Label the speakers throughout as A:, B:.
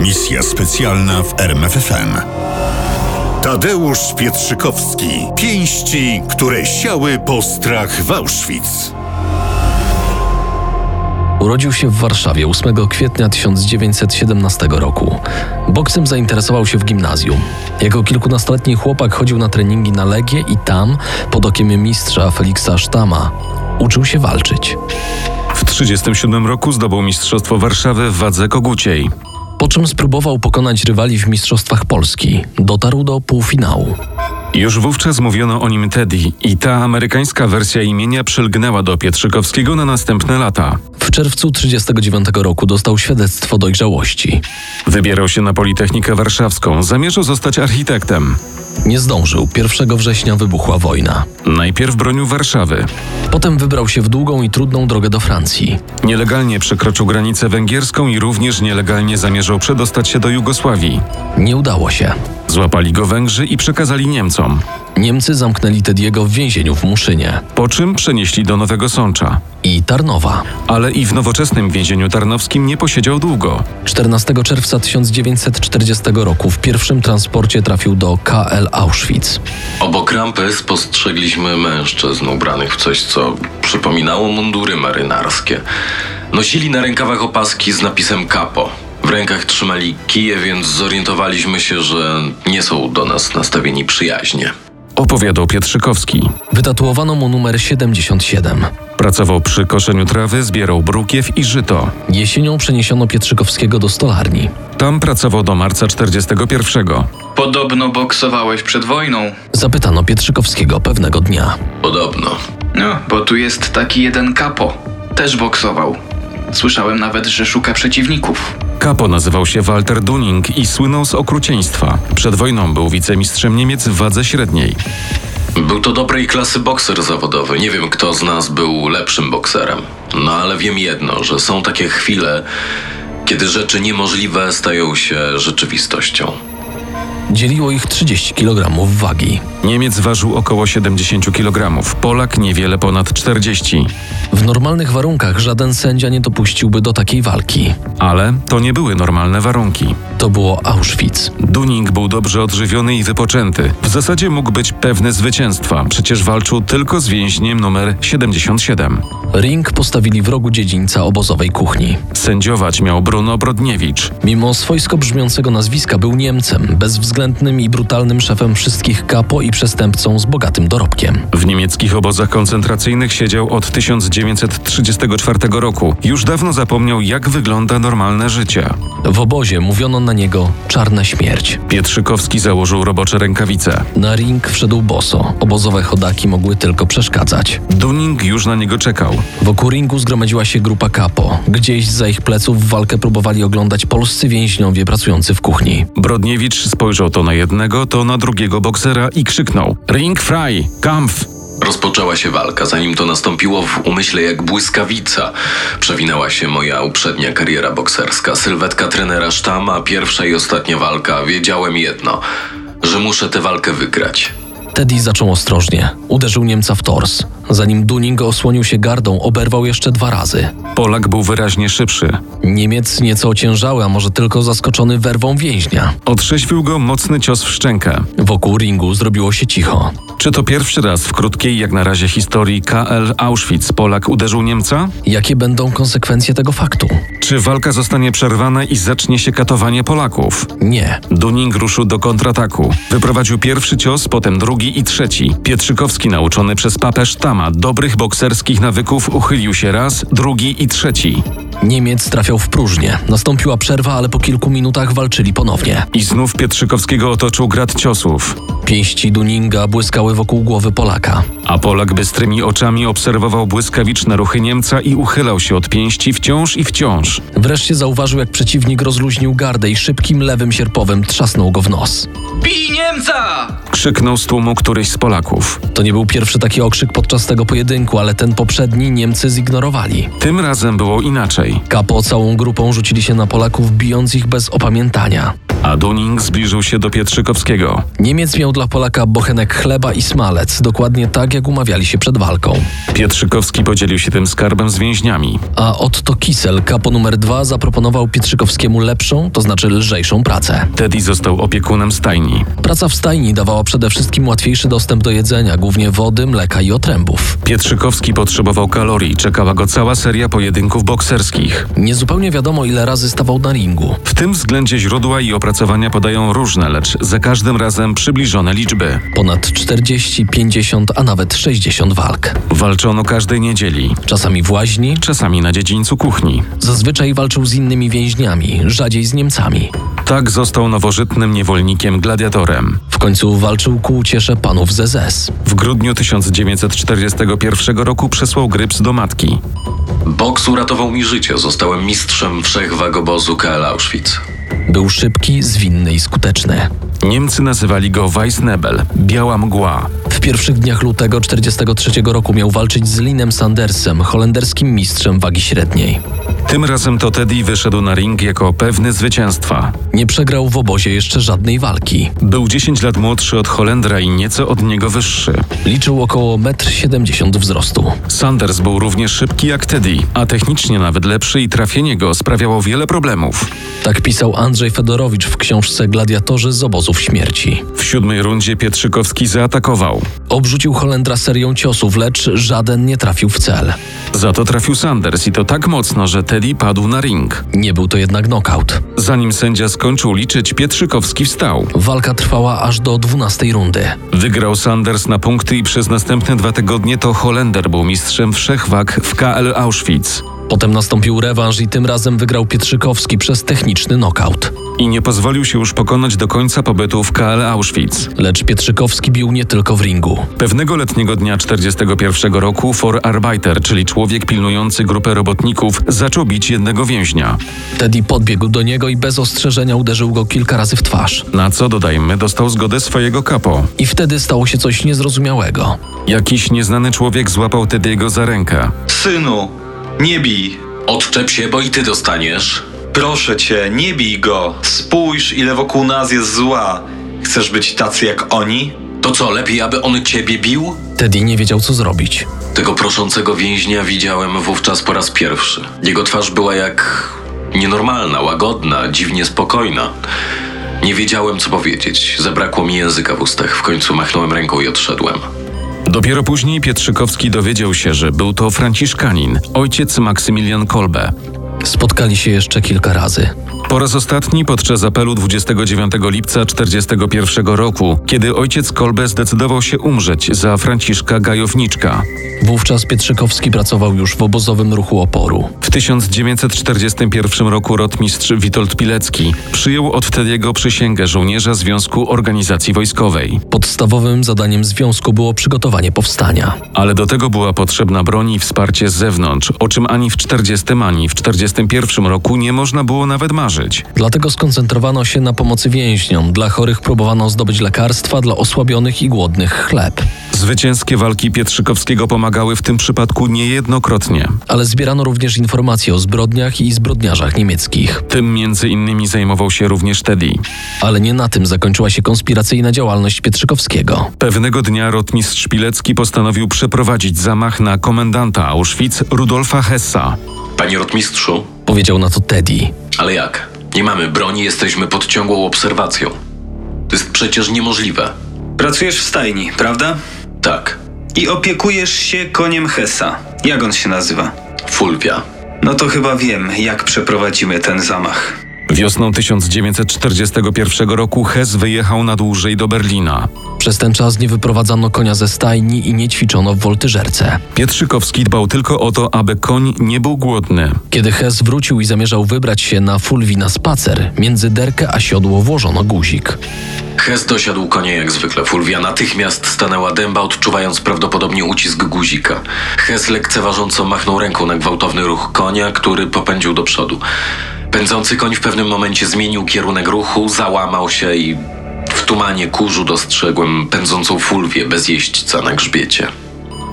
A: Misja specjalna w RMFFM. Tadeusz Pietrzykowski. Pięści, które siały po strach w Auschwitz.
B: Urodził się w Warszawie 8 kwietnia 1917 roku. Boksem zainteresował się w gimnazjum. Jako kilkunastoletni chłopak chodził na treningi na Legię i tam, pod okiem mistrza Feliksa Sztama, uczył się walczyć.
C: W 1937 roku zdobył Mistrzostwo Warszawy w wadze koguciej.
B: Po czym spróbował pokonać rywali w Mistrzostwach Polski. Dotarł do półfinału.
C: Już wówczas mówiono o nim Teddy i ta amerykańska wersja imienia przylgnęła do Pietrzykowskiego na następne lata.
B: W czerwcu 1939 roku dostał świadectwo dojrzałości.
C: Wybierał się na Politechnikę Warszawską, zamierzał zostać architektem.
B: Nie zdążył. 1 września wybuchła wojna.
C: Najpierw bronił Warszawy.
B: Potem wybrał się w długą i trudną drogę do Francji.
C: Nielegalnie przekroczył granicę węgierską i również nielegalnie zamierzał przedostać się do Jugosławii.
B: Nie udało się.
C: Złapali go Węgrzy i przekazali Niemcom,
B: Niemcy zamknęli Tediego w więzieniu w Muszynie
C: po czym przenieśli do Nowego Sącza.
B: i Tarnowa.
C: Ale i w nowoczesnym więzieniu tarnowskim nie posiedział długo.
B: 14 czerwca 1940 roku w pierwszym transporcie trafił do KL Auschwitz.
D: Obok rampy spostrzegliśmy mężczyzn ubranych w coś, co przypominało mundury marynarskie. Nosili na rękawach opaski z napisem kapo. W rękach trzymali kije, więc zorientowaliśmy się, że nie są do nas nastawieni przyjaźnie.
C: Opowiadał Pietrzykowski.
B: Wytatuowano mu numer 77.
C: Pracował przy koszeniu trawy, zbierał brukiew i żyto.
B: Jesienią przeniesiono Pietrzykowskiego do stolarni.
C: Tam pracował do marca 41.
E: Podobno boksowałeś przed wojną.
B: Zapytano Pietrzykowskiego pewnego dnia.
D: Podobno.
E: No, bo tu jest taki jeden kapo. Też boksował. Słyszałem nawet, że szuka przeciwników.
C: Kapo nazywał się Walter Dunning i słynął z okrucieństwa. Przed wojną był wicemistrzem Niemiec w wadze średniej.
D: Był to dobrej klasy bokser zawodowy. Nie wiem, kto z nas był lepszym bokserem. No ale wiem jedno, że są takie chwile, kiedy rzeczy niemożliwe stają się rzeczywistością.
B: Dzieliło ich 30 kg wagi.
C: Niemiec ważył około 70 kg, Polak niewiele ponad 40.
B: W normalnych warunkach żaden sędzia nie dopuściłby do takiej walki.
C: Ale to nie były normalne warunki.
B: To było Auschwitz.
C: Dunning był dobrze odżywiony i wypoczęty. W zasadzie mógł być pewny zwycięstwa, przecież walczył tylko z więźniem numer 77.
B: Ring postawili w rogu dziedzińca obozowej kuchni.
C: Sędziować miał Bruno Brodniewicz.
B: Mimo swojsko brzmiącego nazwiska był Niemcem, bezwzględnym i brutalnym szefem wszystkich kapo i przestępcą z bogatym dorobkiem.
C: W niemieckich obozach koncentracyjnych siedział od 1934 roku. Już dawno zapomniał, jak wygląda normalne życie.
B: W obozie mówiono na niego czarna śmierć.
C: Pietrzykowski założył robocze rękawice.
B: Na ring wszedł boso. Obozowe chodaki mogły tylko przeszkadzać.
C: Dunning już na niego czekał.
B: Wokół ringu zgromadziła się grupa kapo. Gdzieś za ich pleców walkę próbowali oglądać polscy więźniowie pracujący w kuchni.
C: Brodniewicz spojrzał to na jednego, to na drugiego boksera i krzyknął: Ring frei, Kampf!
D: Rozpoczęła się walka. Zanim to nastąpiło, w umyśle jak błyskawica przewinęła się moja uprzednia kariera bokserska. Sylwetka trenera Sztama, pierwsza i ostatnia walka. Wiedziałem jedno, że muszę tę walkę wygrać.
B: Teddy zaczął ostrożnie. Uderzył Niemca w tors. Zanim Dunning osłonił się gardą, oberwał jeszcze dwa razy.
C: Polak był wyraźnie szybszy.
B: Niemiec nieco ociężały, a może tylko zaskoczony werwą więźnia.
C: Otrzeźwił go mocny cios w szczękę.
B: Wokół ringu zrobiło się cicho.
C: Czy to pierwszy raz w krótkiej, jak na razie, historii KL Auschwitz Polak uderzył Niemca?
B: Jakie będą konsekwencje tego faktu?
C: Czy walka zostanie przerwana i zacznie się katowanie Polaków?
B: Nie.
C: Dunning ruszył do kontrataku. Wyprowadził pierwszy cios, potem drugi i trzeci. Pietrzykowski, nauczony przez papę Tama dobrych bokserskich nawyków, uchylił się raz, drugi i trzeci.
B: Niemiec trafiał w próżnię. Nastąpiła przerwa, ale po kilku minutach walczyli ponownie.
C: I znów Pietrzykowskiego otoczył grad ciosów.
B: Pięści Duninga błyskały wokół głowy Polaka.
C: A Polak bystrymi oczami obserwował błyskawiczne ruchy Niemca i uchylał się od pięści wciąż i wciąż.
B: Wreszcie zauważył, jak przeciwnik rozluźnił gardę i szybkim lewym sierpowym trzasnął go w nos.
E: Bij Niemca!
C: Krzyknął z tłumu któryś z Polaków.
B: To nie był pierwszy taki okrzyk podczas tego pojedynku, ale ten poprzedni Niemcy zignorowali.
C: Tym razem było inaczej.
B: Kapo całą grupą rzucili się na Polaków, bijąc ich bez opamiętania.
C: a Dunning zbliżył się do Pietrzykowskiego.
B: Niemiec miał dla Polaka bochenek chleba i smalec, dokładnie tak jak umawiali się przed walką.
C: Pietrzykowski podzielił się tym skarbem z więźniami.
B: A Otto Kissel, kapo numer 2, zaproponował Pietrzykowskiemu lepszą, to znaczy lżejszą pracę.
C: Teddy został opiekunem stajni.
B: Praca w stajni dawała przede wszystkim łatwiejszy dostęp do jedzenia, głównie wody, mleka i otrębów.
C: Pietrzykowski potrzebował kalorii, czekała go cała seria pojedynków bokserskich.
B: Niezupełnie wiadomo, ile razy stawał na ringu.
C: W tym względzie źródła i opracowania podają różne, lecz za każdym razem przybliżone liczby.
B: Ponad 40, 50, a nawet 60 walk.
C: Walczono każdej niedzieli,
B: Czasami w łaźni,
C: czasami na dziedzińcu kuchni.
B: zazwyczaj walczył z innymi więźniami, rzadziej z Niemcami.
C: Tak został nowożytnym niewolnikiem gladiatorem.
B: W końcu walczył ku uciesze panów z SS.
C: W grudniu 1941 roku przesłał Gryps do matki.
D: Boks uratował mi życie, zostałem mistrzem wszech wagobozu KL Auschwitz.
B: Był szybki, zwinny i skuteczny.
C: Niemcy nazywali go Weissnebel, biała mgła.
B: W pierwszych dniach lutego 1943 roku miał walczyć z Linem Sandersem, holenderskim mistrzem wagi średniej.
C: Tym razem to Teddy wyszedł na ring jako pewny zwycięstwa.
B: Nie przegrał w obozie jeszcze żadnej walki.
C: Był 10 lat młodszy od Holendra i nieco od niego wyższy.
B: Liczył około 1,70 m wzrostu.
C: Sanders był równie szybki jak Teddy, a technicznie nawet lepszy i trafienie go sprawiało wiele problemów.
B: Tak pisał Andrzej Fedorowicz w książce Gladiatorzy z obozów śmierci.
C: W siódmej rundzie Pietrzykowski zaatakował.
B: Obrzucił Holendra serią ciosów, lecz żaden nie trafił w cel.
C: Za to trafił Sanders i to tak mocno, że Teddy padł na ring.
B: Nie był to jednak knockout.
C: Zanim sędzia skończył liczyć, Pietrzykowski wstał.
B: Walka trwała aż do 12 rundy.
C: Wygrał Sanders na punkty i przez następne dwa tygodnie to Holender był mistrzem wszechwag w KL Auschwitz.
B: Potem nastąpił rewanż i tym razem wygrał Pietrzykowski przez techniczny knockout.
C: I nie pozwolił się już pokonać do końca pobytu w KL Auschwitz.
B: Lecz Pietrzykowski bił nie tylko w ringu.
C: Pewnego letniego dnia 41 roku Forarbeiter, czyli człowiek pilnujący grupę robotników, zaczął bić jednego więźnia.
B: Teddy podbiegł do niego i bez ostrzeżenia uderzył go kilka razy w twarz.
C: Na co, dodajmy, dostał zgodę swojego kapo.
B: I wtedy stało się coś niezrozumiałego.
C: Jakiś nieznany człowiek złapał wtedy jego za rękę.
F: Synu, nie bij.
D: Odczep się, bo i ty dostaniesz.
F: Proszę cię, nie bij go. Spójrz, ile wokół nas jest zła. Chcesz być tacy jak oni?
D: To co, lepiej, aby on ciebie bił?
B: Teddy nie wiedział, co zrobić.
D: Tego proszącego więźnia widziałem wówczas po raz pierwszy. Jego twarz była jak nienormalna, łagodna, dziwnie spokojna. Nie wiedziałem, co powiedzieć. Zabrakło mi języka w ustach. W końcu machnąłem ręką i odszedłem.
C: Dopiero później Pietrzykowski dowiedział się, że był to Franciszkanin, ojciec Maksymilian Kolbe.
B: Spotkali się jeszcze kilka razy.
C: Po raz ostatni podczas apelu 29 lipca 41 roku, kiedy ojciec Kolbe zdecydował się umrzeć za Franciszka Gajowniczka.
B: Wówczas Pietrzykowski pracował już w obozowym ruchu oporu.
C: W 1941 roku rotmistrz Witold Pilecki przyjął od Tediego przysięgę żołnierza Związku Organizacji Wojskowej,
B: Podstawowym zadaniem związku było przygotowanie powstania.
C: ale do tego była potrzebna broń i wsparcie z zewnątrz, o czym ani w 40 ani w 41 roku nie można było nawet marzyć.
B: Dlatego skoncentrowano się na pomocy więźniom. Dla chorych próbowano zdobyć lekarstwa, dla osłabionych i głodnych chleb.
C: Zwycięskie walki Pietrzykowskiego pomagały w tym przypadku niejednokrotnie.
B: Ale zbierano również informacje o zbrodniach i zbrodniarzach niemieckich.
C: Tym między innymi zajmował się również Teddy.
B: Ale nie na tym zakończyła się konspiracyjna działalność Pietrzykowskiego.
C: Pewnego dnia rotmistrz Pilecki postanowił przeprowadzić zamach na komendanta Auschwitz Rudolfa Hessa.
D: Panie rotmistrzu,
B: Powiedział na to Teddy.
D: ale jak? Nie mamy broni, jesteśmy pod ciągłą obserwacją. To jest przecież niemożliwe.
F: Pracujesz w stajni, prawda?
D: Tak,
F: I opiekujesz się koniem Hesa. Jak on się nazywa?
D: Fulvia.
F: No to chyba wiem, jak przeprowadzimy ten zamach.
C: Wiosną 1941 roku Hess wyjechał na dłużej do Berlina.
B: Przez ten czas nie wyprowadzano konia ze stajni i nie ćwiczono w woltyżerce.
C: Pietrzykowski dbał tylko o to, aby koń nie był głodny.
B: Kiedy Hess wrócił i zamierzał wybrać się na Fulwi na spacer, między derkę a siodło włożono guzik.
D: Hes dosiadł konie jak zwykle. Fulvia natychmiast stanęła dęba, odczuwając prawdopodobnie ucisk guzika. Hes lekceważąco machnął ręką na gwałtowny ruch konia, który popędził do przodu. Pędzący koń w pewnym momencie zmienił kierunek ruchu, załamał się i w tumanie kurzu dostrzegłem pędzącą Fulwię bez jeźdźca na grzbiecie.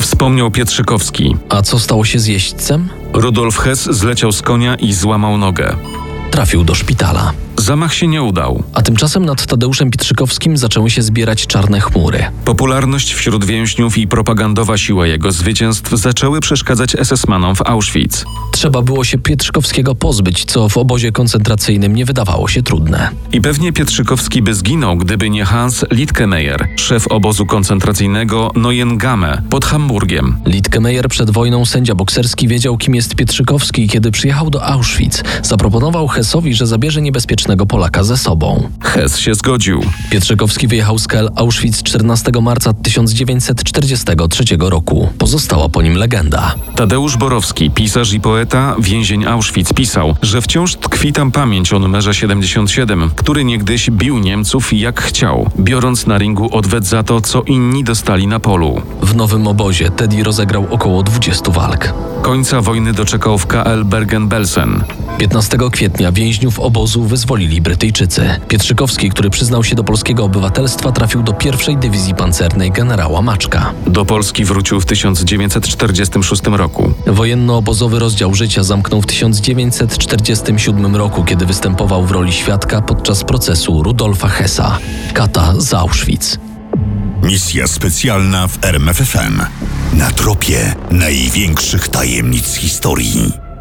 C: Wspomniał Pietrzykowski.
B: A co stało się z jeźdźcem?
C: Rudolf Hess zleciał z konia i złamał nogę.
B: Trafił do szpitala.
C: Zamach się nie udał.
B: A tymczasem nad Tadeuszem Pietrzykowskim zaczęły się zbierać czarne chmury.
C: Popularność wśród więźniów i propagandowa siła jego zwycięstw zaczęły przeszkadzać SS-manom w Auschwitz.
B: Trzeba było się Pietrzykowskiego pozbyć, co w obozie koncentracyjnym nie wydawało się trudne.
C: I pewnie Pietrzykowski by zginął, gdyby nie Hans Littkemeyer, szef obozu koncentracyjnego Neuengamme pod Hamburgiem.
B: Littkemeyer przed wojną sędzia bokserski wiedział, kim jest Pietrzykowski i kiedy przyjechał do Auschwitz, zaproponował Hessowi, że zabierze niebezpiecznego Polaka ze sobą.
C: Hess się zgodził.
B: Pietrzykowski wyjechał z Kel Auschwitz 14 marca 1943 roku. Pozostała po nim legenda.
C: Tadeusz Borowski, pisarz i poeta, więzień Auschwitz, pisał, że wciąż tkwi tam pamięć o numerze 77, który niegdyś bił Niemców jak chciał, biorąc na ringu odwet za to, co inni dostali na polu.
B: W nowym obozie Teddy rozegrał około 20 walk.
C: Końca wojny doczekał w KL Bergen-Belsen.
B: 15 kwietnia więźniów obozu wyzwolili Brytyjczycy. Pietrzykowski, który przyznał się do polskiego obywatelstwa, trafił do pierwszej dywizji pancernej generała Maczka.
C: Do Polski wrócił w 1946 roku.
B: Wojenno-obozowy rozdział życia zamknął w 1947 roku, kiedy występował w roli świadka podczas procesu Rudolfa Hessa, kata z Auschwitz.
A: Misja specjalna w RMFFM. Na tropie największych tajemnic historii.